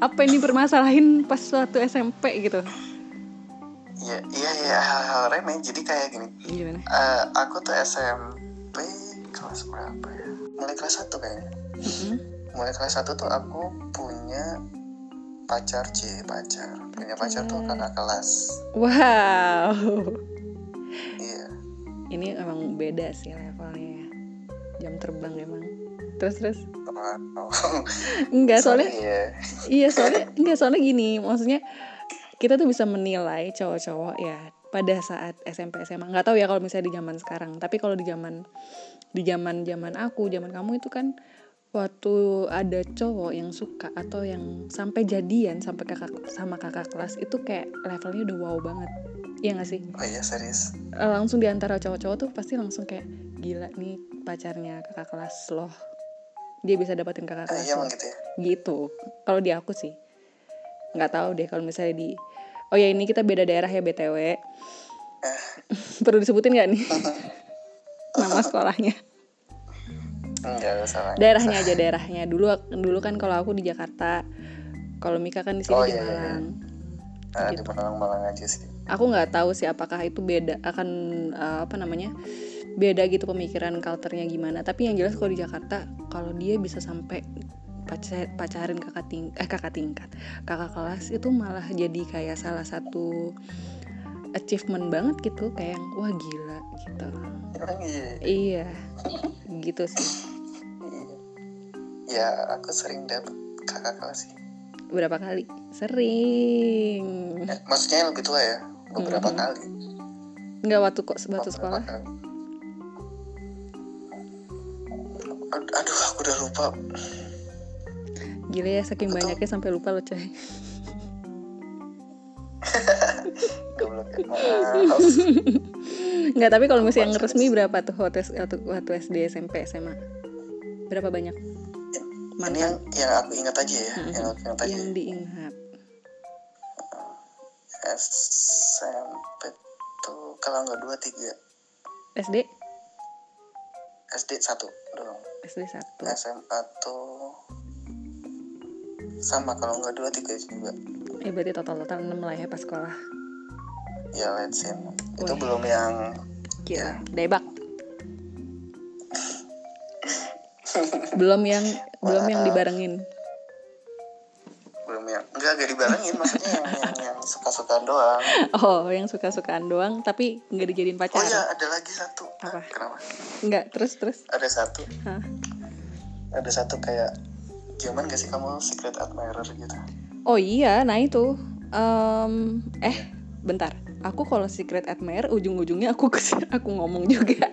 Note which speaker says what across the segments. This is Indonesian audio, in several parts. Speaker 1: apa yang dipermasalahin pas waktu SMP gitu
Speaker 2: Iya, iya, iya, hal-hal remeh. Jadi kayak gini,
Speaker 1: gimana
Speaker 2: eh, aku tuh SMP kelas berapa ya? Mulai kelas 1 kayaknya.
Speaker 1: Mm-mm.
Speaker 2: Mulai kelas 1 tuh aku punya pacar, C, pacar. Punya pacar tuh
Speaker 1: Pacar.
Speaker 2: kakak kelas.
Speaker 1: wow
Speaker 2: Iya.
Speaker 1: ini emang beda sih levelnya ya. jam terbang emang terus terus
Speaker 2: Wow.
Speaker 1: enggak Ya, soalnya
Speaker 2: Iya.
Speaker 1: Iya soalnya enggak soalnya gini maksudnya kita tuh bisa menilai cowok-cowok ya pada saat SMP SMA nggak tahu ya kalau misalnya di zaman sekarang tapi kalau di zaman di zaman zaman aku zaman kamu itu kan waktu ada cowok yang suka atau yang sampai jadian sampai kakak sama kakak kelas itu kayak levelnya udah wow banget Iya gak sih? Eh,
Speaker 2: Oh iya, serius.
Speaker 1: Langsung di antara cowok-cowok tuh pasti langsung kayak Gila nih pacarnya kakak kelas loh Dia bisa dapetin kakak
Speaker 2: Eh,
Speaker 1: kelas
Speaker 2: iya
Speaker 1: loh."
Speaker 2: emang gitu ya.
Speaker 1: gitu kalau di aku sih nggak tahu deh kalau misalnya di oh ya ini kita beda daerah ya btw perlu disebutin nggak nih nama sekolahnya
Speaker 2: Enggak ada salah.
Speaker 1: daerahnya aja daerahnya dulu ak- dulu kan kalau aku di Jakarta kalau Mika kan di sini
Speaker 2: Oh,
Speaker 1: di
Speaker 2: iya, iya, iya.
Speaker 1: Malang
Speaker 2: Ah, di
Speaker 1: gitu.
Speaker 2: Malang-Malang aja sih.
Speaker 1: aku nggak tahu sih apakah itu beda akan eh, apa namanya beda gitu pemikiran culture-nya gimana tapi yang jelas kalau di Jakarta kalau dia bisa sampai pacar pacarin kakak ting eh kakak tingkat kakak kelas itu malah jadi kayak salah satu achievement banget gitu kayak yang, wah gila gitu
Speaker 2: Emang iya.
Speaker 1: iya gitu sih
Speaker 2: Ya, aku sering dapet kakak kelas sih.
Speaker 1: berapa kali sering
Speaker 2: Eh, maksudnya yang lebih tua ya, beberapa
Speaker 1: Mhm.
Speaker 2: kali.
Speaker 1: nggak waktu kok waktu
Speaker 2: Beberapa
Speaker 1: sekolah
Speaker 2: kali. Ad- Aduh, aku udah lupa.
Speaker 1: gila ya saking
Speaker 2: Betul.
Speaker 1: banyaknya sampai lupa loh coy
Speaker 2: Goblok ya. Maaf.
Speaker 1: Nggak, tapi kalau misalnya yang
Speaker 2: Lupa,
Speaker 1: resmi
Speaker 2: serius.
Speaker 1: berapa tuh waktu, waktu, waktu SD, SMP, SMA? Berapa banyak?
Speaker 2: Ini
Speaker 1: Mantan
Speaker 2: yang, yang aku ingat aja ya.
Speaker 1: Mhm.
Speaker 2: Yang aku ingat aja.
Speaker 1: yang diingat.
Speaker 2: SMP tuh kalau nggak dua tiga
Speaker 1: SD?
Speaker 2: SD satu dong
Speaker 1: SD 1.
Speaker 2: SMA tuh sama kalau nggak dua tiga juga
Speaker 1: Eh, berarti total-total 6 lah ya pas sekolah.
Speaker 2: ya let's see. itu
Speaker 1: Wih.
Speaker 2: belum yang
Speaker 1: Gila, debak. belum yang belum yang dibarengin.
Speaker 2: belum yang enggak gak dibarengin maksudnya yang yang, yang suka sukaan doang
Speaker 1: Oh, yang suka-sukaan doang tapi nggak dijadiin pacar.
Speaker 2: oh ya ada lagi satu
Speaker 1: Apa?
Speaker 2: kenapa
Speaker 1: Nggak, terus terus.
Speaker 2: ada satu
Speaker 1: Hah?
Speaker 2: ada satu kayak zaman gak sih kamu secret admirer gitu
Speaker 1: Oh iya, nah itu. Em, eh, bentar. Aku kalau secret admirer ujung-ujungnya aku kes- aku ngomong juga.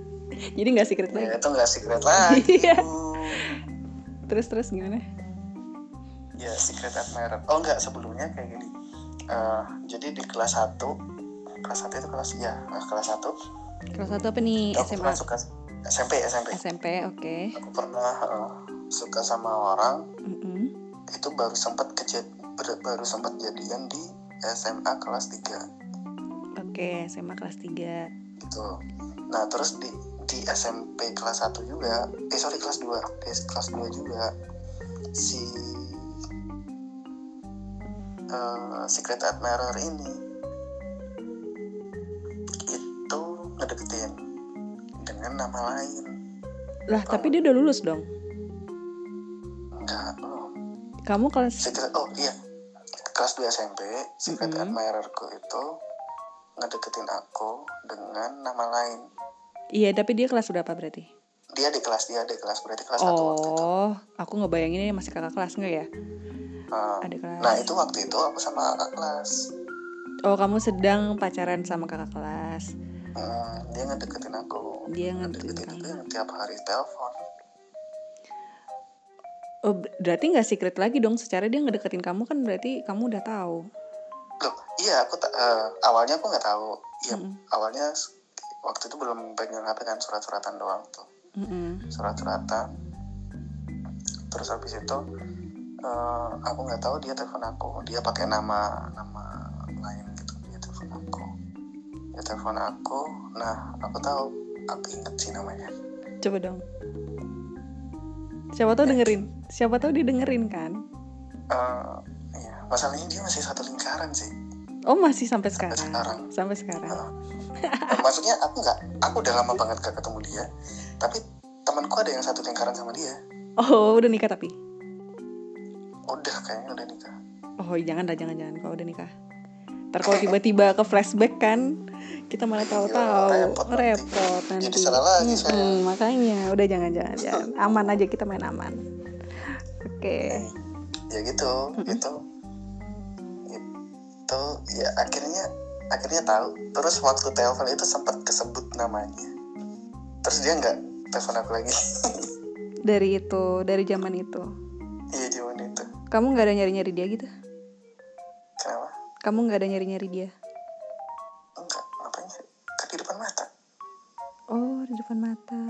Speaker 1: Jadi nggak secret
Speaker 2: ya
Speaker 1: lagi.
Speaker 2: itu nggak secret lagi
Speaker 1: Iya.
Speaker 2: Bu.
Speaker 1: Terus terus gimana?
Speaker 2: ya secret admirer oh enggak sebelumnya kayak gini Eh, jadi di kelas 1 kelas 1 itu kelas ya nah, kelas 1
Speaker 1: Kelas satu apa nih?
Speaker 2: aku
Speaker 1: SMA.
Speaker 2: pernah suka SMP SMP
Speaker 1: SMP, oke.
Speaker 2: aku pernah eh, suka sama orang
Speaker 1: Mm-mm.
Speaker 2: itu baru sempat kejad ber- baru sempat jadian di SMA kelas 3
Speaker 1: Oke, SMA kelas 3.
Speaker 2: gitu. Nah, terus di di SMP kelas 1 juga, eh sorry kelas 2, di kelas 2 juga si eh, secret admirer ini itu ngedeketin dengan nama lain.
Speaker 1: Lah, tapi dia udah lulus dong.
Speaker 2: Enggak, belum.
Speaker 1: Kamu kelas
Speaker 2: Secret oh iya. Kelas 2 SMP, secret
Speaker 1: Mm-mm.
Speaker 2: admirerku itu ngedeketin aku dengan nama lain.
Speaker 1: Iya, tapi dia kelas berapa berarti?
Speaker 2: Dia di kelas dia di kelas berarti kelas 1 waktu itu.
Speaker 1: Oh, aku ngebayanginnya masih kakak kelas nggak ya?
Speaker 2: Nah,
Speaker 1: Ada kelas.
Speaker 2: Nah itu waktu itu aku sama kakak kelas
Speaker 1: Oh, kamu sedang pacaran sama kakak kelas.
Speaker 2: Hmm, Dia ngedeketin aku
Speaker 1: Dia ngedeketin
Speaker 2: Ngedeketin aku
Speaker 1: kamu.
Speaker 2: yang tiap hari telepon
Speaker 1: Oh, ber- berarti nggak secret lagi dong. Secara dia ngedeketin kamu kan berarti kamu udah tahu.
Speaker 2: Loh iya aku ta- eh, awalnya aku nggak tahu Iya
Speaker 1: Mm-mm.
Speaker 2: awalnya s- waktu itu belum pegang HP kan surat-suratan doang tuh
Speaker 1: Mm-mm.
Speaker 2: Surat-suratan Terus habis itu eh, aku nggak tahu dia telepon aku dia pakai nama nama lain gitu dia telepon aku dia telepon aku nah aku tahu aku inget sih namanya
Speaker 1: Coba dong. Siapa tahu dengerin. Siapa tahu dia dengerin kan?
Speaker 2: eh, iya. masalahnya dia masih satu lingkaran sih
Speaker 1: Oh masih sampai
Speaker 2: sampai
Speaker 1: sekarang.
Speaker 2: sekarang
Speaker 1: Sampai sekarang.
Speaker 2: Eh, maksudnya aku nggak aku udah lama banget gak ketemu dia tapi temanku ada yang satu lingkaran sama dia
Speaker 1: Oh udah nikah tapi.
Speaker 2: udah kayaknya udah nikah
Speaker 1: Oh jangan dah jangan jangan kalau udah nikah. Ntar kalau tiba-tiba ke flashback kan kita malah tahu-tahu
Speaker 2: Iya, Repot nanti.
Speaker 1: repot nanti.
Speaker 2: Jadi salah lagi saya.
Speaker 1: Mm-mm, makanya udah jangan jangan jangan. Aman aja kita main aman. Oke.
Speaker 2: ya gitu
Speaker 1: Mm-mm.
Speaker 2: gitu itu ya akhirnya akhirnya tahu terus waktu telepon itu sempat kesebut namanya terus dia nggak telepon aku lagi
Speaker 1: Dari itu dari zaman itu.
Speaker 2: iya di mana itu
Speaker 1: Kamu nggak ada nyari-nyari dia gitu?
Speaker 2: kenapa
Speaker 1: Kamu nggak ada nyari-nyari dia?
Speaker 2: enggak ngapain sih kan di depan mata
Speaker 1: Oh di depan mata.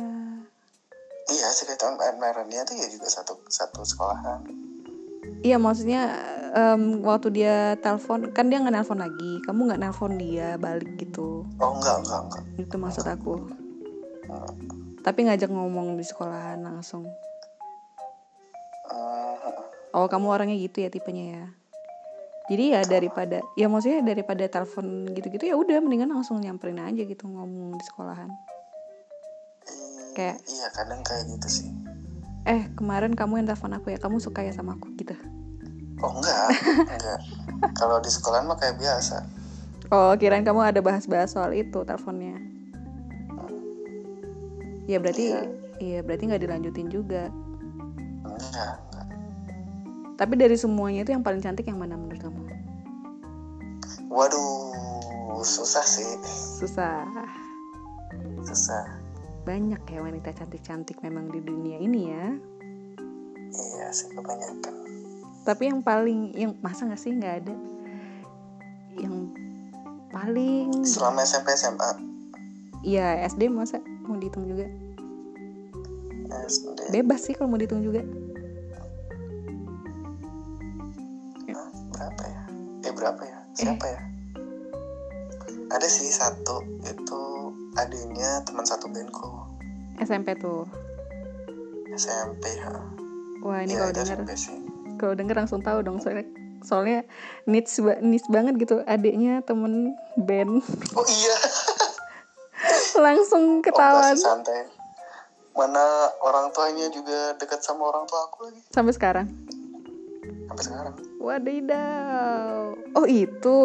Speaker 2: iya sih kita admirannya tuh ya juga satu satu sekolahan
Speaker 1: Iya maksudnya em, waktu dia telepon kan dia nggak nelpon lagi. Kamu nggak nelpon dia balik gitu.
Speaker 2: oh enggak enggak enggak
Speaker 1: Itu maksud aku. Tapi ngajak ngomong di sekolahan langsung.
Speaker 2: Hmm,
Speaker 1: Oh kamu orangnya gitu ya tipenya ya. Jadi ya daripada ya maksudnya daripada telepon gitu-gitu ya udah mendingan langsung nyamperin aja gitu ngomong di sekolahan.
Speaker 2: i-
Speaker 1: Kayak-
Speaker 2: iya kadang kayak gitu sih
Speaker 1: Eh kemarin kamu yang telepon aku ya kamu suka ya sama aku gitu.
Speaker 2: oh enggak enggak kalau di sekolahan mah kayak biasa
Speaker 1: Oh kirain kamu ada bahas-bahas soal itu teleponnya. Ya berarti
Speaker 2: Iya.
Speaker 1: iya berarti nggak dilanjutin juga.
Speaker 2: enggak enggak
Speaker 1: Tapi dari semuanya itu yang paling cantik yang mana menurut kamu?
Speaker 2: waduh susah sih
Speaker 1: Susah.
Speaker 2: susah
Speaker 1: Banyak ya wanita cantik-cantik memang di dunia ini ya.
Speaker 2: iya sih kebanyakan
Speaker 1: Tapi yang paling yang masa nggak sih nggak ada yang paling
Speaker 2: selama SMP SMA
Speaker 1: ya SD masa mau dihitung juga
Speaker 2: SD
Speaker 1: bebas sih kalau mau dihitung juga
Speaker 2: Hah, berapa ya eh berapa ya siapa ya ada sih satu itu adiknya teman satu bandku
Speaker 1: SMP tuh
Speaker 2: SMP ha.
Speaker 1: wah ini
Speaker 2: Iya,
Speaker 1: kalau
Speaker 2: itu
Speaker 1: denger
Speaker 2: SMP sih
Speaker 1: kalau denger langsung tahu dong soalnya soalnya niche ba- niche banget gitu adiknya temen band
Speaker 2: oh iya
Speaker 1: langsung
Speaker 2: Ketahuan
Speaker 1: ketahuan
Speaker 2: santai mana orang tuanya juga dekat sama orang tua aku lagi
Speaker 1: sampai sekarang
Speaker 2: sampai sekarang
Speaker 1: Wadidaw. Oh itu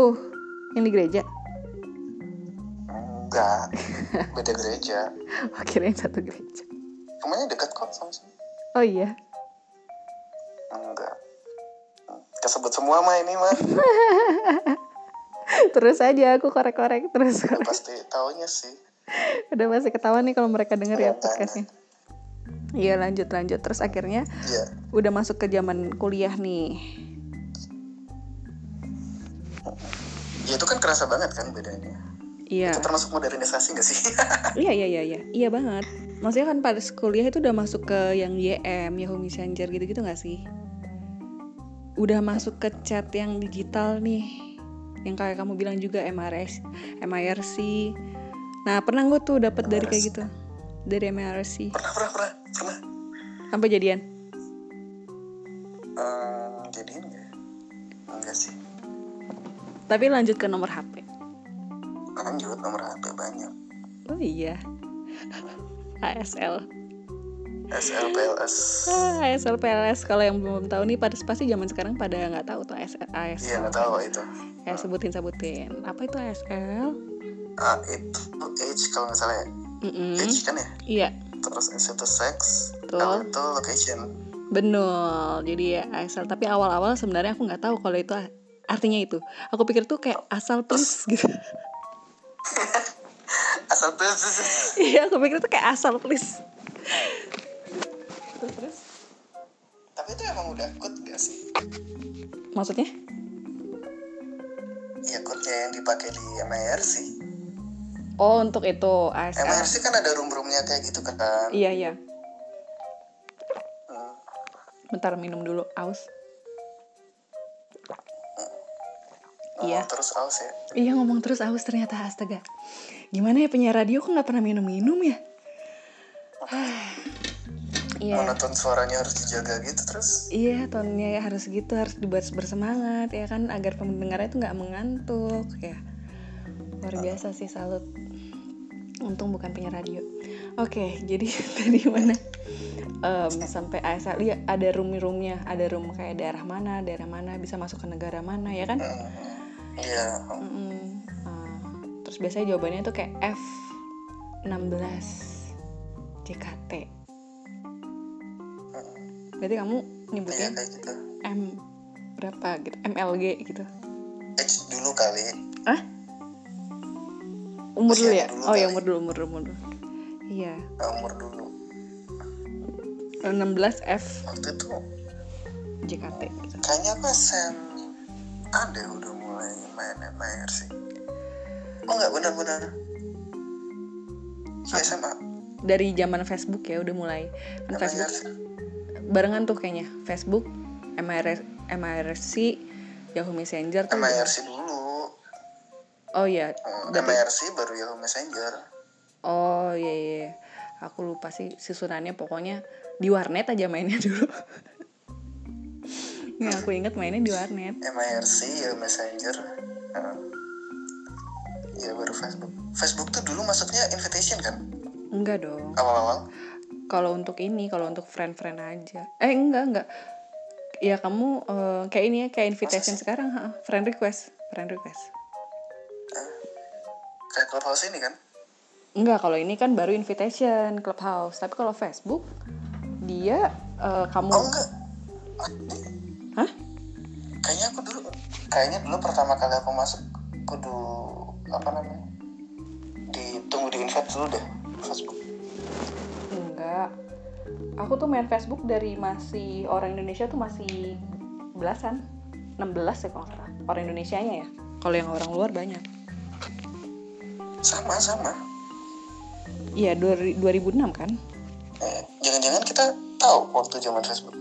Speaker 1: yang di gereja.
Speaker 2: enggak beda gereja
Speaker 1: Oh kirain satu gereja.
Speaker 2: rumahnya dekat kok sama sini
Speaker 1: Oh iya.
Speaker 2: enggak kesebut semua mah ini mah
Speaker 1: Terus aja aku korek-korek terus.
Speaker 2: Udah Ya, pasti taunya sih
Speaker 1: Udah masih ketawa nih kalau mereka denger ya podcastnya. Iya lanjut lanjut terus akhirnya
Speaker 2: iya
Speaker 1: udah masuk ke zaman kuliah nih.
Speaker 2: ya itu kan kerasa banget kan bedanya
Speaker 1: Iya.
Speaker 2: itu termasuk modernisasi gak sih
Speaker 1: Iya iya iya iya iya banget. Maksudnya kan pada kuliah itu udah masuk ke yang YM, Yahoo Messenger gitu-gitu nggak sih? Udah masuk ke chat yang digital nih, yang kayak kamu bilang juga MRS, MIRC. Nah pernah gue tuh dapat dari kayak gitu, dari MIRC
Speaker 2: pernah pernah pernah pernah
Speaker 1: sampai jadian.
Speaker 2: Hmm, jadi enggak enggak sih
Speaker 1: Tapi lanjut ke nomor HP.
Speaker 2: lanjut nomor HP banyak
Speaker 1: Oh iya, ASL.
Speaker 2: SLPLS
Speaker 1: Ah, ASL PLS kalau yang belum tahu nih pada pasti zaman sekarang pada nggak tahu tuh ASL.
Speaker 2: iya nggak tahu itu
Speaker 1: Ya sebutin sebutin. Apa itu ASL?
Speaker 2: ah itu age kalau nggak salah ya
Speaker 1: Hmm. Mm-mm.
Speaker 2: age kan ya
Speaker 1: Iya,
Speaker 2: terus S itu sex
Speaker 1: Betul.
Speaker 2: L itu location
Speaker 1: benar. Jadi ya ASL. Tapi awal-awal sebenarnya aku nggak tahu kalau itu a- artinya itu. Aku pikir tuh kayak asal please gitu.
Speaker 2: asal tuh
Speaker 1: Iya, aku pikir tuh kayak asal please. Terus, terus?
Speaker 2: tapi itu emang udah code gak sih
Speaker 1: Maksudnya?
Speaker 2: iya code yang dipakai di MIRC
Speaker 1: Oh, untuk itu ASL.
Speaker 2: MIRC kan ada room-roomnya kayak gitu kan
Speaker 1: Iya, iya.
Speaker 2: Hmm.
Speaker 1: Bentar minum dulu aus.
Speaker 2: Oh,
Speaker 1: Iya.
Speaker 2: terus aus ya
Speaker 1: Iya ngomong terus aus ternyata astaga. Gimana ya penyiar radio kok nggak pernah minum-minum ya? Iya.
Speaker 2: monoton suaranya harus dijaga gitu terus
Speaker 1: Iya, tonnya ya harus gitu, harus dibuat bersemangat ya kan agar pendengarnya itu nggak mengantuk ya. Luar biasa sih salut. Untung bukan punya radio. Oke, jadi tadi mana? Em, sampai ASL ya ada room-roomnya, ada room kayak daerah mana, daerah mana bisa masuk ke negara mana ya kan?
Speaker 2: Hmm, iya
Speaker 1: Hmm. Mm-mm. Ah, terus biasanya jawabannya tuh kayak F 16 JKT. Berarti kamu
Speaker 2: iya
Speaker 1: nyebutnya
Speaker 2: kayak gitu
Speaker 1: M berapa gitu MLG gitu
Speaker 2: H dulu kali
Speaker 1: umur dulu ya
Speaker 2: Usia dulu
Speaker 1: oh ya
Speaker 2: kali.
Speaker 1: umur dulu umur dulu, umur dulu iya
Speaker 2: umur dulu
Speaker 1: 16 F
Speaker 2: waktu itu
Speaker 1: JKT gitu
Speaker 2: kayaknya pas Sam ada udah mulai main MIR sih oh nggak benar-benar
Speaker 1: Apa?
Speaker 2: Iya SMA
Speaker 1: dari zaman Facebook ya udah mulai kan
Speaker 2: MIR
Speaker 1: Facebook
Speaker 2: sih
Speaker 1: barengan tuh kayaknya Facebook MIRC MIRC Yahoo Messenger tuh udah-
Speaker 2: MIRC dulu
Speaker 1: oh iya
Speaker 2: Hmm,
Speaker 1: Berarti-
Speaker 2: MIRC baru Yahoo Messenger
Speaker 1: oh iya iya iya. aku lupa sih susunannya pokoknya di warnet aja mainnya dulu Nih aku inget mainnya di warnet
Speaker 2: MIRC ya Messenger Heeh. ya baru Facebook Facebook tuh dulu masuknya invitation kan
Speaker 1: enggak dong
Speaker 2: awal-awal
Speaker 1: kalau untuk ini kalau untuk friend-friend aja eh enggak enggak ya kamu eh, kayak ini ya kayak invitation
Speaker 2: Masa sih?
Speaker 1: sekarang ha, friend request friend request
Speaker 2: kayak clubhouse ini kan
Speaker 1: enggak kalau ini kan baru invitation clubhouse tapi kalau Facebook dia eh, kamu
Speaker 2: oh enggak
Speaker 1: Hah?
Speaker 2: kayaknya aku dulu kayaknya dulu pertama kali aku masuk kudu apa namanya ditunggu di invite dulu deh Facebook
Speaker 1: enggak aku tuh main Facebook dari masih orang Indonesia tuh masih belasan 16 ya kalau nggak salah orang Indonesianya ya kalau yang orang luar banyak
Speaker 2: sama sama
Speaker 1: iya dua- 2006 kan
Speaker 2: Eh, jangan-jangan kita tahu waktu zaman Facebook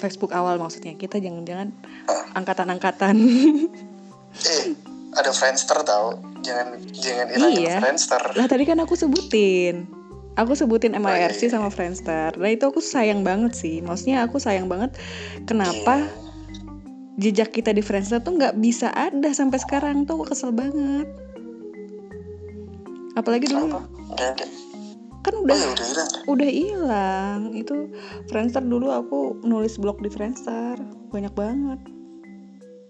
Speaker 1: Facebook awal maksudnya kita jangan-jangan
Speaker 2: Ah.
Speaker 1: angkatan-angkatan
Speaker 2: eh ada Friendster tahu jangan jangan ilangin
Speaker 1: Iya.
Speaker 2: Friendster
Speaker 1: lah tadi kan aku sebutin aku sebutin
Speaker 2: Oh, iya,
Speaker 1: MIRC
Speaker 2: iya.
Speaker 1: sama Friendster nah itu aku sayang banget sih maksudnya aku sayang banget kenapa
Speaker 2: Iya.
Speaker 1: jejak kita di Friendster tuh nggak bisa ada sampai sekarang tuh aku kesel banget apalagi
Speaker 2: Iya, Kenapa?
Speaker 1: dulu
Speaker 2: Udah ada.
Speaker 1: kan
Speaker 2: Oh
Speaker 1: udah
Speaker 2: ya udah hilang.
Speaker 1: udah hilang itu Friendster dulu aku nulis blog di Friendster banyak banget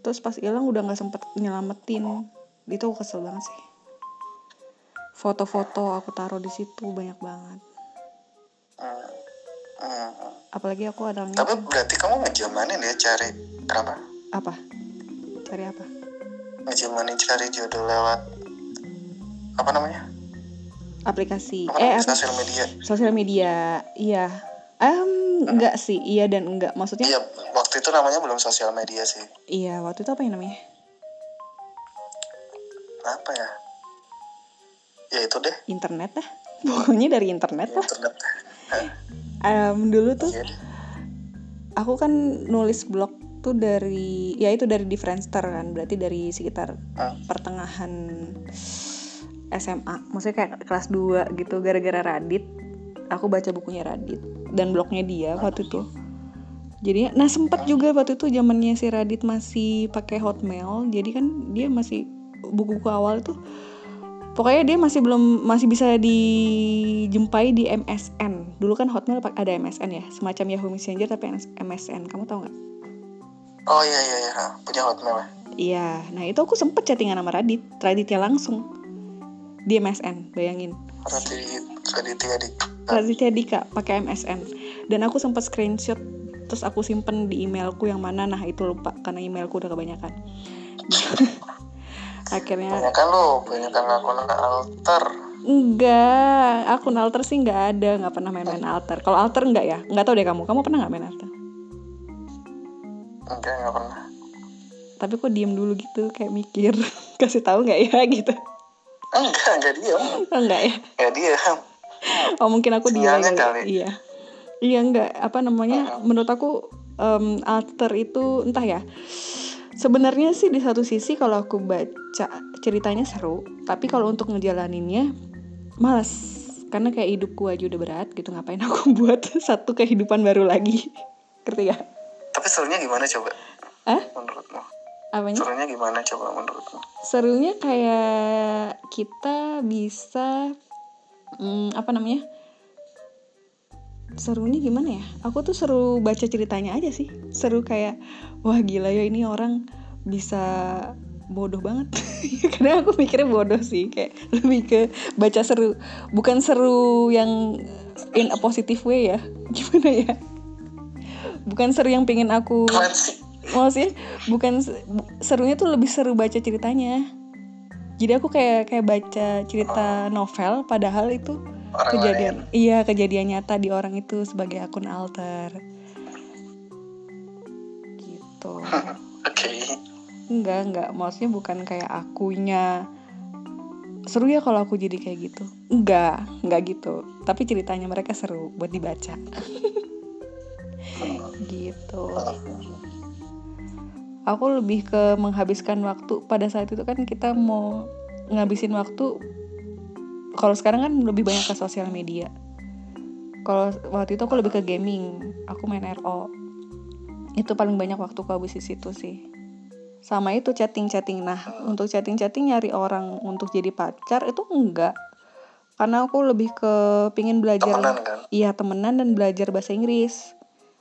Speaker 1: terus pas hilang udah nggak sempet nyelamatin itu aku kesel banget sih foto-foto aku taruh di situ banyak banget
Speaker 2: Hmm. Hmm.
Speaker 1: apalagi aku orangnya
Speaker 2: Tapi berarti kamu ngejamanin ya cari apa?
Speaker 1: apa cari apa
Speaker 2: Ngejamanin cari jodoh lewat apa namanya?
Speaker 1: aplikasi
Speaker 2: Apa
Speaker 1: eh
Speaker 2: namanya?
Speaker 1: ap-
Speaker 2: sosial media.
Speaker 1: sosial media iya Em, enggak sih iya dan enggak maksudnya
Speaker 2: Iya, waktu itu namanya belum sosial media sih.
Speaker 1: iya waktu itu apa yang namanya
Speaker 2: Apa ya? Ya itu deh.
Speaker 1: internet lah pokoknya dari internet lah
Speaker 2: Internet.
Speaker 1: Em, dulu tuh
Speaker 2: Iya.
Speaker 1: aku kan nulis blog tuh dari ya itu dari di Friendster kan berarti dari sekitar
Speaker 2: Ah.
Speaker 1: pertengahan SMA maksudnya kayak kelas 2 gitu gara-gara Radit aku baca bukunya Radit dan blognya dia waktu itu jadinya nah sempet juga waktu itu zamannya si Radit masih pakai Hotmail jadi kan dia masih buku-buku awal tuh pokoknya dia masih belum masih bisa dijumpai di MSN dulu kan Hotmail pak- ada MSN ya semacam Yahoo Messenger tapi MSN kamu tahu nggak
Speaker 2: Oh iya iya iya. Punya Hotmail. ya?
Speaker 1: iya nah itu aku sempet chattingan sama Radit Raditnya langsung di MSN bayangin
Speaker 2: Berarti Raditya Dika.
Speaker 1: Raditya Dika pakai MSN dan aku sempat screenshot terus aku simpen di emailku yang mana nah itu lupa karena emailku udah kebanyakan akhirnya
Speaker 2: Banyakan lo, banyakan lakukan kan alter.
Speaker 1: Enggak, akun alter sih nggak ada, nggak pernah main-main alter. Kalau alter enggak ya, nggak tahu deh kamu. Kamu pernah nggak main alter?
Speaker 2: Enggak, enggak pernah.
Speaker 1: Tapi kok diem dulu gitu, kayak mikir, kasih tahu nggak ya gitu?
Speaker 2: Enggak, enggak diam.
Speaker 1: Oh, enggak ya?
Speaker 2: Enggak diam.
Speaker 1: Oh mungkin aku dia
Speaker 2: Sinyalnya kali.
Speaker 1: Iya, iya enggak. Apa namanya? Menurut aku em, alter itu entah ya. Sebenarnya sih di satu sisi kalau aku baca ceritanya seru, tapi kalau untuk ngejalaninnya males karena kayak hidupku aja udah berat gitu ngapain aku buat satu kehidupan baru lagi ngerti gak?
Speaker 2: Tapi serunya gimana coba?
Speaker 1: Hah?
Speaker 2: Menurutmu?
Speaker 1: Apanya?
Speaker 2: Serunya gimana coba menurutmu?
Speaker 1: Serunya kayak kita bisa mm, apa namanya? Serunya gimana ya? Aku tuh seru baca ceritanya aja sih. Seru kayak wah gila ya ini orang bisa bodoh banget. Karena aku mikirnya bodoh sih kayak lebih ke baca seru, bukan seru yang in a positive way ya. Gimana ya? Bukan seru yang pengen aku
Speaker 2: Keren sih.
Speaker 1: maksudnya bukan se- bu- serunya tuh lebih seru baca ceritanya jadi aku kayak kayak baca cerita novel padahal itu
Speaker 2: Orang
Speaker 1: kejadian
Speaker 2: lain.
Speaker 1: iya kejadian nyata di orang itu sebagai akun alter gitu
Speaker 2: Oke.
Speaker 1: enggak enggak maksudnya bukan kayak akunya seru ya kalau aku jadi kayak gitu enggak enggak gitu tapi ceritanya mereka seru buat dibaca
Speaker 2: Hmm.
Speaker 1: gitu aku lebih ke menghabiskan waktu pada saat itu kan kita mau ngabisin waktu kalau sekarang kan lebih banyak ke sosial media kalau waktu itu aku lebih ke gaming aku main RO itu paling banyak waktu aku habis di situ sih sama itu chatting-chatting nah untuk chatting-chatting nyari orang untuk jadi pacar itu enggak karena aku lebih ke pingin belajar
Speaker 2: Temenan kan?
Speaker 1: Iya temenan dan belajar bahasa Inggris.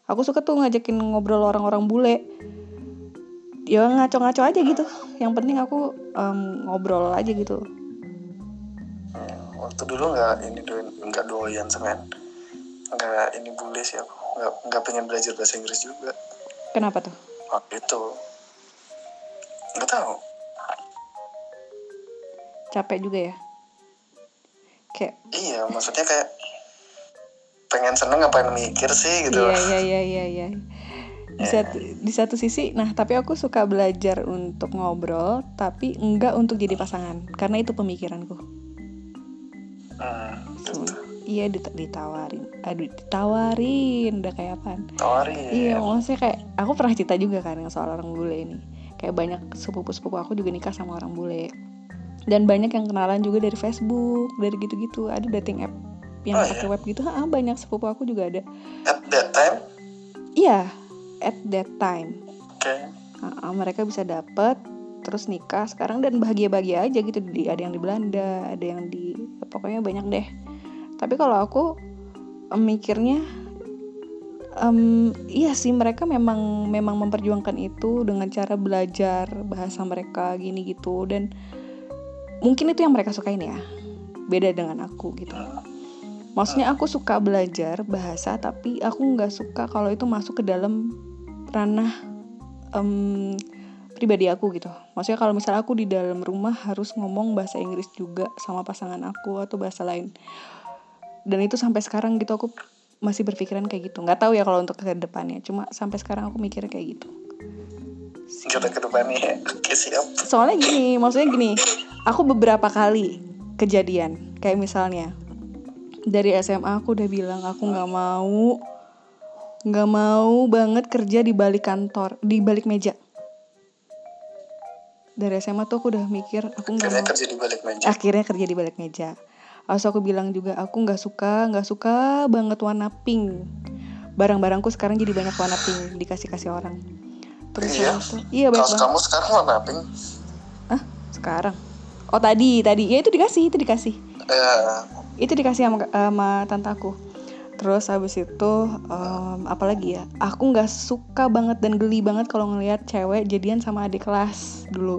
Speaker 1: Aku suka tuh ngajakin ngobrol orang-orang bule. Ya ngaco-ngaco aja gitu. Yang penting aku em, ngobrol aja gitu.
Speaker 2: Hmm, Waktu dulu nggak ini doyan, nggak doyan semen. Nggak ini bule sih aku. Nggak, nggak pengen belajar bahasa Inggris juga.
Speaker 1: Kenapa tuh?
Speaker 2: Waktu itu. Nggak tahu.
Speaker 1: Capek juga ya? Kayak
Speaker 2: Iya, maksudnya kayak pengen seneng ngapain mikir sih gitu. Eh.
Speaker 1: iya iya iya iya iya. Di satu, di satu sisi, nah tapi aku suka belajar untuk ngobrol, tapi enggak untuk jadi pasangan, karena itu pemikiranku.
Speaker 2: Hmm, gitu.
Speaker 1: Iya dit- ditawarin, aduh ditawarin, udah kayak apaan?
Speaker 2: Tawarin.
Speaker 1: Iya, maksudnya kayak aku pernah cerita juga kan yang soal orang bule ini. Kayak banyak sepupu-sepupu aku juga nikah sama orang bule. Dan banyak yang kenalan juga dari Facebook, dari gitu-gitu. Ada dating app yang
Speaker 2: Oh,
Speaker 1: pakai web gitu. Ah, banyak sepupu aku juga ada.
Speaker 2: At that time,
Speaker 1: Iya, at that time.
Speaker 2: kayak
Speaker 1: Ah, ah, mereka bisa dapet terus nikah sekarang dan bahagia-bahagia aja gitu. Di- Ada yang di Belanda, ada yang di pokoknya banyak deh. Tapi kalau aku em, mikirnya Em, iya sih mereka memang memang memperjuangkan itu dengan cara belajar bahasa mereka gini gitu dan mungkin itu yang mereka sukain ya beda dengan aku gitu maksudnya aku suka belajar bahasa tapi aku nggak suka kalau itu masuk ke dalam ranah em, pribadi aku gitu maksudnya kalau misalnya aku di dalam rumah harus ngomong bahasa Inggris juga sama pasangan aku atau bahasa lain dan itu sampai sekarang gitu aku masih berpikiran kayak gitu nggak tahu ya kalau untuk ke depannya cuma sampai sekarang aku mikirnya kayak gitu
Speaker 2: jodoh gitu ke depannya. Oke, siap.
Speaker 1: soalnya gini maksudnya gini aku beberapa kali kejadian kayak misalnya dari SMA aku udah bilang aku nggak mau nggak mau banget kerja di balik kantor di balik meja dari SMA tuh aku udah mikir aku nggak
Speaker 2: Akhirnya
Speaker 1: mau
Speaker 2: kerja di balik meja.
Speaker 1: akhirnya kerja di balik meja. Lalu aku bilang juga aku nggak suka, nggak suka banget warna pink. Barang-barangku sekarang jadi banyak warna pink dikasih-kasih orang. Terus
Speaker 2: Iya?
Speaker 1: habis itu, iya banyak
Speaker 2: Kaos
Speaker 1: banget.
Speaker 2: kamu sekarang warna pink.
Speaker 1: Hah? Ah, Sekarang. Oh tadi, tadi. Ya itu dikasih, itu dikasih.
Speaker 2: Eh,
Speaker 1: Itu dikasih sama, sama tante aku. Terus habis itu em, apalagi ya? Aku nggak suka banget dan geli banget kalau ngelihat cewek jadian sama adik kelas dulu.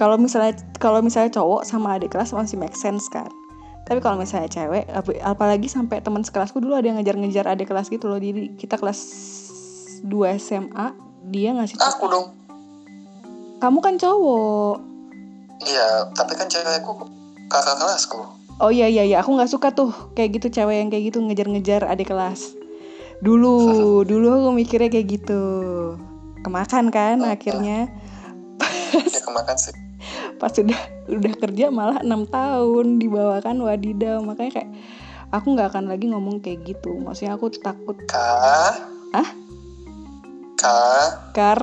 Speaker 1: Kalau misalnya kalau misalnya cowok sama adik kelas masih make sense kan. Tapi kalau misalnya cewek ap- apalagi sampai teman sekelasku dulu ada yang ngejar-ngejar adik kelas gitu loh. Jadi kita kelas 2 SMA dia ngasih tau,
Speaker 2: aku dong.
Speaker 1: kamu kan cowok
Speaker 2: Iya, tapi kan cewekku kakak kelasku.
Speaker 1: Oh iya iya iya, aku nggak suka tuh kayak gitu cewek yang kayak gitu ngejar-ngejar adik kelas. Dulu, dulu aku mikirnya kayak gitu. Kemakan kan akhirnya
Speaker 2: Dia kemakan sih.
Speaker 1: pas udah udah kerja malah enam tahun dibawakan wadidaw makanya kayak aku nggak akan lagi ngomong kayak gitu. Maksudnya aku takut
Speaker 2: Kak.
Speaker 1: Hah?
Speaker 2: Kak.
Speaker 1: kar.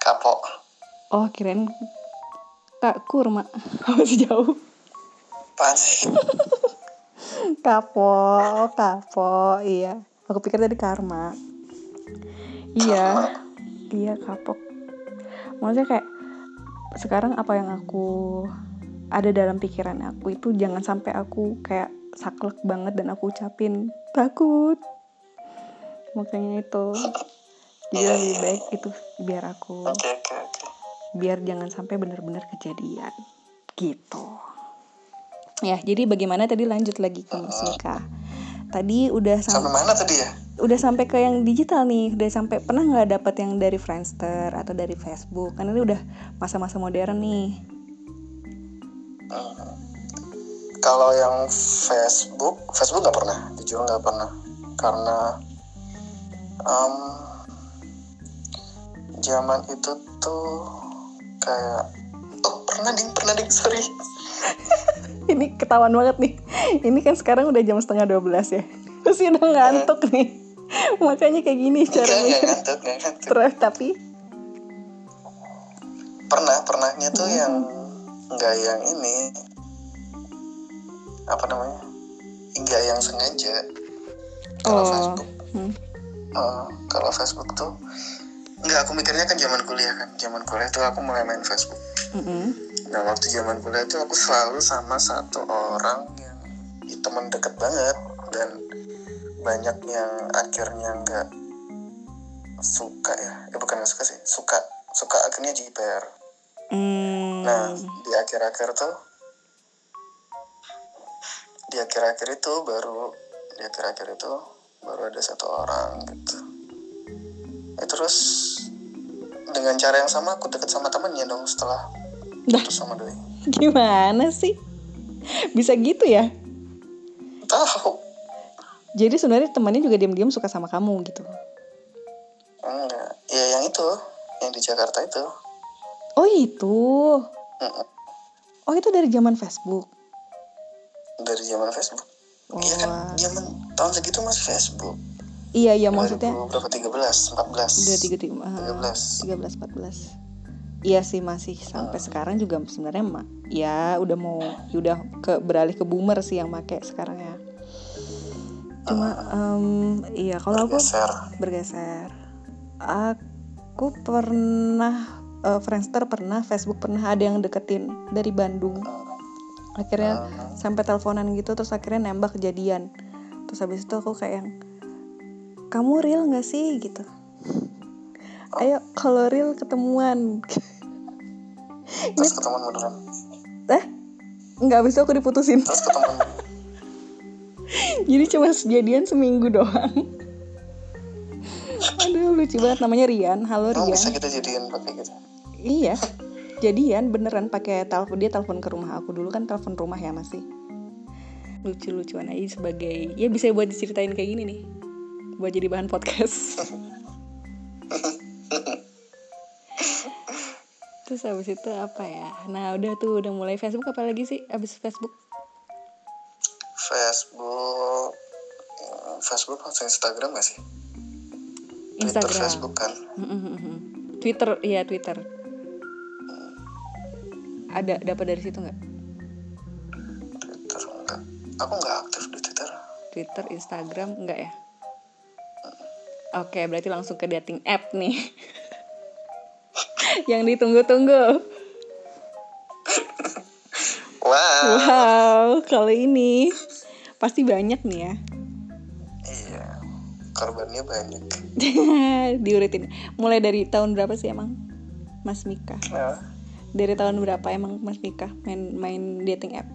Speaker 2: Kapok.
Speaker 1: Oh kirain kak kurma masih jauh.
Speaker 2: apaan sih
Speaker 1: Kapo, oh, kapo, iya. Aku pikir tadi karma. Iya, iya kapok. Maksudnya kayak sekarang apa yang aku ada dalam pikiran aku itu jangan sampai aku kayak saklek banget dan aku ucapin takut. Makanya itu. Jadi lebih baik itu biar aku
Speaker 2: oke oke oke
Speaker 1: biar jangan sampai benar-benar kejadian gitu ya jadi bagaimana tadi lanjut lagi ke Mas Mika tadi udah sampai
Speaker 2: sampai mana tadi ya
Speaker 1: udah sampai ke yang digital nih udah sampai pernah nggak dapet yang dari Friendster atau dari Facebook karena ini udah masa-masa modern nih
Speaker 2: Hmm. Kalau yang Facebook, Facebook nggak pernah, jujur nggak pernah, karena em, zaman itu tuh kayak oh pernah ding pernah ding sorry
Speaker 1: ini ketahuan banget nih ini kan sekarang udah jam setengah 12 ya pasti udah ngantuk
Speaker 2: Iya.
Speaker 1: nih makanya kayak gini
Speaker 2: enggak enggak
Speaker 1: caranya
Speaker 2: ngantuk nggak ngantuk
Speaker 1: terus tapi
Speaker 2: pernah pernahnya tuh
Speaker 1: Hmm.
Speaker 2: yang nggak yang ini apa namanya nggak yang sengaja kalau
Speaker 1: oh
Speaker 2: Facebook
Speaker 1: hmm.
Speaker 2: Eh, kalau Facebook tuh nggak aku mikirnya kan zaman kuliah kan zaman kuliah tuh aku mulai main Facebook
Speaker 1: Mm-mm.
Speaker 2: nah waktu zaman kuliah tuh aku selalu sama satu orang yang teman deket banget dan banyak yang akhirnya nggak suka ya eh bukan nggak suka sih suka suka akhirnya jiper
Speaker 1: Hmm.
Speaker 2: nah di akhir-akhir tuh di akhir-akhir itu baru di akhir-akhir itu baru ada satu orang gitu eh, terus dengan cara yang sama aku deket sama temennya dong setelah
Speaker 1: Dah.
Speaker 2: putus sama doi
Speaker 1: Gimana sih? Bisa gitu ya?
Speaker 2: tahu
Speaker 1: Jadi sebenarnya temannya juga diam-diam suka sama kamu gitu.
Speaker 2: enggak ya yang itu yang di Jakarta itu
Speaker 1: Oh itu.
Speaker 2: Mm-mm.
Speaker 1: Oh itu dari zaman Facebook. Oh,
Speaker 2: dari zaman Facebook
Speaker 1: Wah.
Speaker 2: iya kan zaman tahun segitu masih Facebook
Speaker 1: Iya iya maksudnya
Speaker 2: 2000 berapa 13 14
Speaker 1: udah tiga tiga ah,
Speaker 2: 13
Speaker 1: tiga belas empat belas. Iya sih masih sampai sekarang juga sebenarnya mah ya udah mau ya udah ke beralih ke boomer sih yang make sekarang ya. Cuma em, iya kalau aku
Speaker 2: bergeser
Speaker 1: bergeser. Aku pernah eh, Friendster pernah, Facebook pernah ada yang deketin dari Bandung. Akhirnya
Speaker 2: Hmm.
Speaker 1: sampai teleponan gitu terus akhirnya nembak kejadian. Terus habis itu aku kayak yang kamu real nggak sih gitu. Ayo kalau real ketemuan.
Speaker 2: terus ketemuan beneran
Speaker 1: eh nggak habis itu aku diputusin.
Speaker 2: terus ketemuan
Speaker 1: Jadi cuma jadian seminggu doang. Aduh lucu banget namanya Rian. Halo
Speaker 2: emang
Speaker 1: Rian.
Speaker 2: Oh, bisa kita jadiin pakai gitu
Speaker 1: Iya. Jadian beneran pakai telepon dia telepon ke rumah aku dulu kan telepon rumah ya masih. Lucu-lucuan aja sebagai ya bisa buat diceritain kayak gini nih. Buat jadi bahan podcast. Terus abis itu apa ya? Nah udah tuh udah mulai Facebook apa lagi sih abis Facebook?
Speaker 2: Facebook eh, Facebook atau Instagram gak sih? Twitter
Speaker 1: Instagram.
Speaker 2: Facebook kan
Speaker 1: Twitter, iya Twitter. Ada dapat dari situ nggak?
Speaker 2: Twitter enggak aku nggak aktif di Twitter
Speaker 1: Twitter, Instagram, enggak ya? Oke, berarti langsung ke dating app nih. Yang ditunggu-tunggu.
Speaker 2: wah
Speaker 1: Wow, kalau ini pasti banyak nih ya.
Speaker 2: iya korbannya banyak
Speaker 1: Diuritin. Mulai dari tahun berapa sih emang? Mas Mika.
Speaker 2: nah,
Speaker 1: Dari tahun berapa emang Mas Mika main main dating app?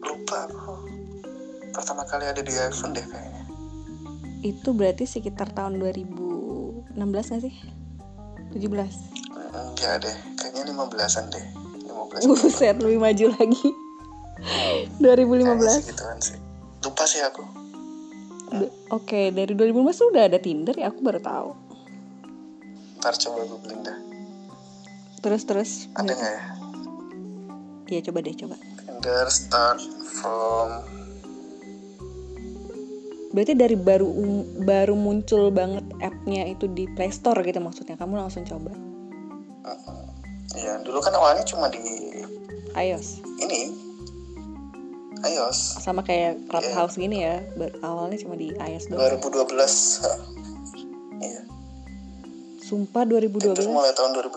Speaker 2: lupa aku pertama kali ada di iPhone deh kayaknya
Speaker 1: Itu berarti sekitar tahun 2016 nggak sih? 17.
Speaker 2: enggak deh kayaknya 15an deh 15
Speaker 1: Buset, lebih maju lagi. 2015.
Speaker 2: segituan sih lupa sih aku
Speaker 1: Du- Oke, dari 2015 tuh udah ada Tinder ya, aku baru tahu.
Speaker 2: ntar coba googling dah
Speaker 1: Terus terus
Speaker 2: ada nggak ya
Speaker 1: ya coba deh coba.
Speaker 2: Tinder start from
Speaker 1: Berarti dari baru um- baru muncul banget app-nya itu di Play Store gitu maksudnya. Kamu langsung coba.
Speaker 2: Iya, dulu kan awalnya cuma di
Speaker 1: iOS.
Speaker 2: ini iOS
Speaker 1: sama kayak clubhouse gini ya ber- awalnya cuma di iOS doang
Speaker 2: 2012 ha. iya
Speaker 1: sumpah
Speaker 2: terus
Speaker 1: 2012
Speaker 2: mulai tahun 2012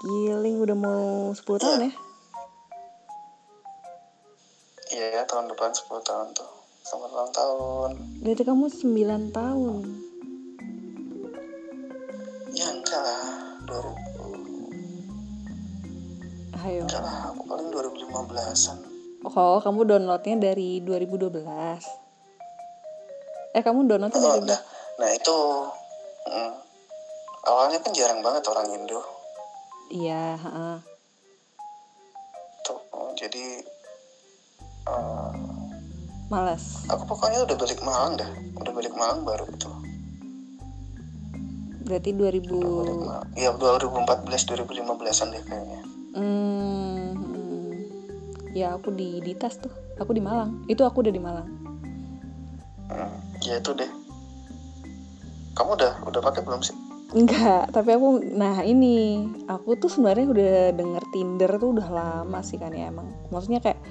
Speaker 1: giling udah mau 10 tahun ya
Speaker 2: iya tahun depan 10 tahun tuh selamat ulang tahun
Speaker 1: berarti kamu 9 tahun
Speaker 2: ya enggak lah 2000
Speaker 1: ayo
Speaker 2: enggak lah aku paling 2015an
Speaker 1: oh kamu downloadnya dari 2012 eh kamu downloadnya
Speaker 2: oh,
Speaker 1: dari
Speaker 2: udah nah itu mm, awalnya kan jarang banget orang Indo
Speaker 1: iya heeh.
Speaker 2: tuh jadi eh,
Speaker 1: males
Speaker 2: aku pokoknya udah balik Malang dah udah balik Malang baru tuh
Speaker 1: berarti 2000
Speaker 2: Iya 2014 2015an deh kayaknya.
Speaker 1: Hmm, ya aku di di tas tuh. Aku di Malang. Itu aku udah di Malang.
Speaker 2: Hmm, ya itu deh. Kamu udah udah pakai belum sih?
Speaker 1: Enggak, tapi aku nah ini aku tuh sebenarnya udah denger Tinder tuh udah lama sih kan ya emang. Maksudnya kayak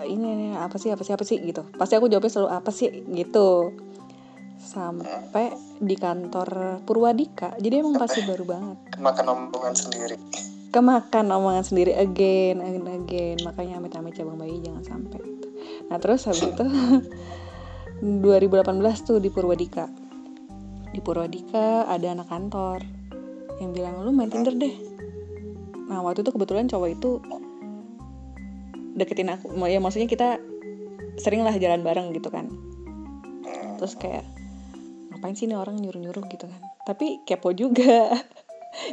Speaker 1: "Eh, ini, ini apa sih apa sih apa sih gitu. Pasti aku jawabnya selalu apa sih gitu. Sampai di kantor Purwadika. Jadi emang pasti baru banget.
Speaker 2: Makan omongan sendiri.
Speaker 1: kemakan omongan sendiri again and again makanya amit-amit cabang bayi jangan sampai nah terus habis itu 2018 tuh di Purwadika di Purwadika ada anak kantor yang bilang lu main Tinder deh nah waktu itu kebetulan cowok itu deketin aku ya maksudnya kita sering lah jalan bareng gitu kan terus kayak ngapain sih nih orang nyuruh-nyuruh gitu kan tapi kepo juga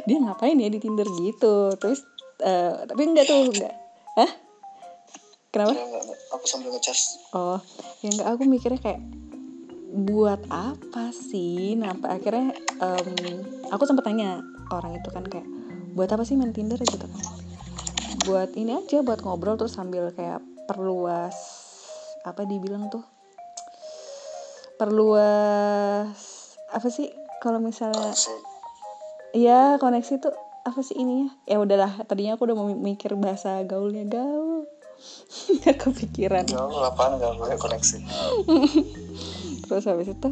Speaker 1: dia ngapain ya di Tinder gitu terus eh, tapi enggak tuh enggak hah kenapa
Speaker 2: Iya, enggak, enggak. Aku sambil ngecas.
Speaker 1: Oh, ya enggak aku mikirnya kayak buat apa sih? Nah, sampai akhirnya em, aku sempat tanya ke orang itu kan kayak buat apa sih main Tinder gitu kan. Buat ini aja buat ngobrol terus sambil kayak perluas apa dibilang tuh? Perluas apa sih kalau misalnya
Speaker 2: Kan Sih.
Speaker 1: ya koneksi tuh apa sih ininya? Ya udahlah, tadinya aku udah mau mikir bahasa gaulnya gaul. Gak kepikiran.
Speaker 2: Jauh lapangan Ya nggak boleh koneksi.
Speaker 1: Terus habis itu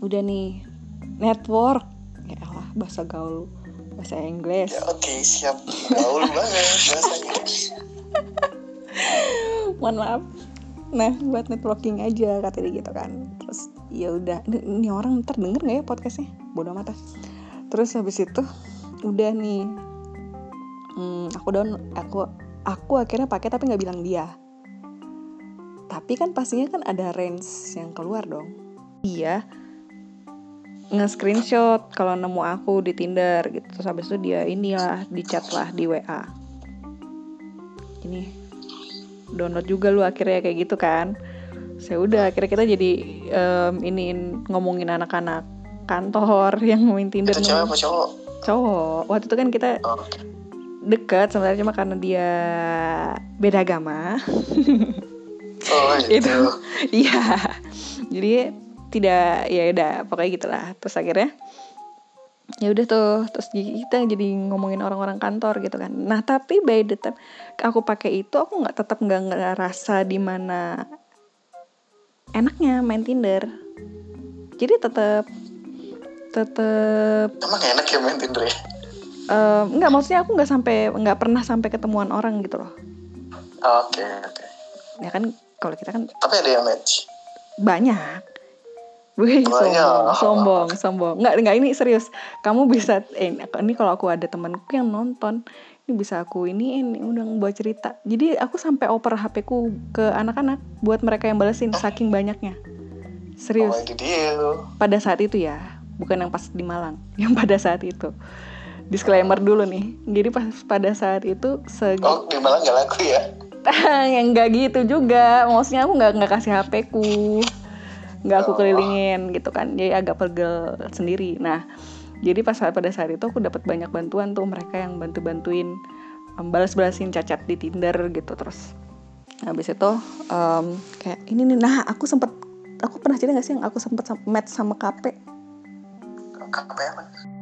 Speaker 1: udah nih network ya Allah bahasa gaul bahasa Inggris
Speaker 2: Ya oke siap. Gaul banget bahasanya.
Speaker 1: mohon maaf nah buat networking aja kata dia gitu kan terus ya udah ini ini orang ntar denger nggak ya podcastnya bodoh mata terus habis itu udah nih hmm, aku down aku aku akhirnya pakai tapi nggak bilang dia tapi kan pastinya kan ada range yang keluar dong dia nge-screenshot kalau nemu aku di Tinder gitu terus habis itu dia inilah di chat lah di WA ini download juga lu akhirnya kayak gitu kan saya udah akhirnya kita jadi em, iniin ngomongin anak-anak kantor yang main Tinder
Speaker 2: Itu
Speaker 1: ngomongin
Speaker 2: cewek apa cowok?
Speaker 1: cowok waktu itu kan kita
Speaker 2: Oh,
Speaker 1: dekat sebenarnya cuma karena dia beda agama
Speaker 2: oh itu.
Speaker 1: Itu. iya jadi tidak ya udah pokoknya gitulah terus akhirnya ya udah tuh terus jadi kita jadi ngomongin orang-orang kantor gitu kan nah tapi by the time aku pakai itu aku nggak tetap nggak ngerasa di mana enaknya main Tinder jadi tetap tetap
Speaker 2: Emang enak ya main Tinder ya?
Speaker 1: Em, nggak maksudnya aku nggak sampai nggak pernah sampai ketemuan orang gitu loh
Speaker 2: Oke oke.
Speaker 1: ya kan kalau kita kan
Speaker 2: Tapi ada yang match.
Speaker 1: banyak Wih, sombong,
Speaker 2: Banyak.
Speaker 1: sombong, sombong. Nggak, nggak ini serius. Kamu bisa, eh, ini kalau aku ada temanku yang nonton, ini bisa aku ini, ini udah buat cerita. Jadi aku sampai oper HP ku ke anak-anak buat mereka yang balesin saking banyaknya.
Speaker 2: Oh
Speaker 1: Serius.
Speaker 2: itu dia.
Speaker 1: pada saat itu ya bukan yang pas di Malang yang pada saat itu disclaimer dulu nih jadi pas pada saat itu segi
Speaker 2: Oh di Malang nggak laku ya?
Speaker 1: yang nggak gitu juga maksudnya aku nggak nggak kasih HP ku nggak aku
Speaker 2: Oh.
Speaker 1: kelilingin gitu kan jadi agak pegel sendiri nah jadi pas pada saat itu aku dapat banyak bantuan tuh mereka yang bantu bantuin balas balasin cacat di Tinder gitu terus habis itu em, kayak ini nih nah aku sempet aku pernah cerita nggak sih yang aku sempet sam- match sama KP
Speaker 2: KP apa?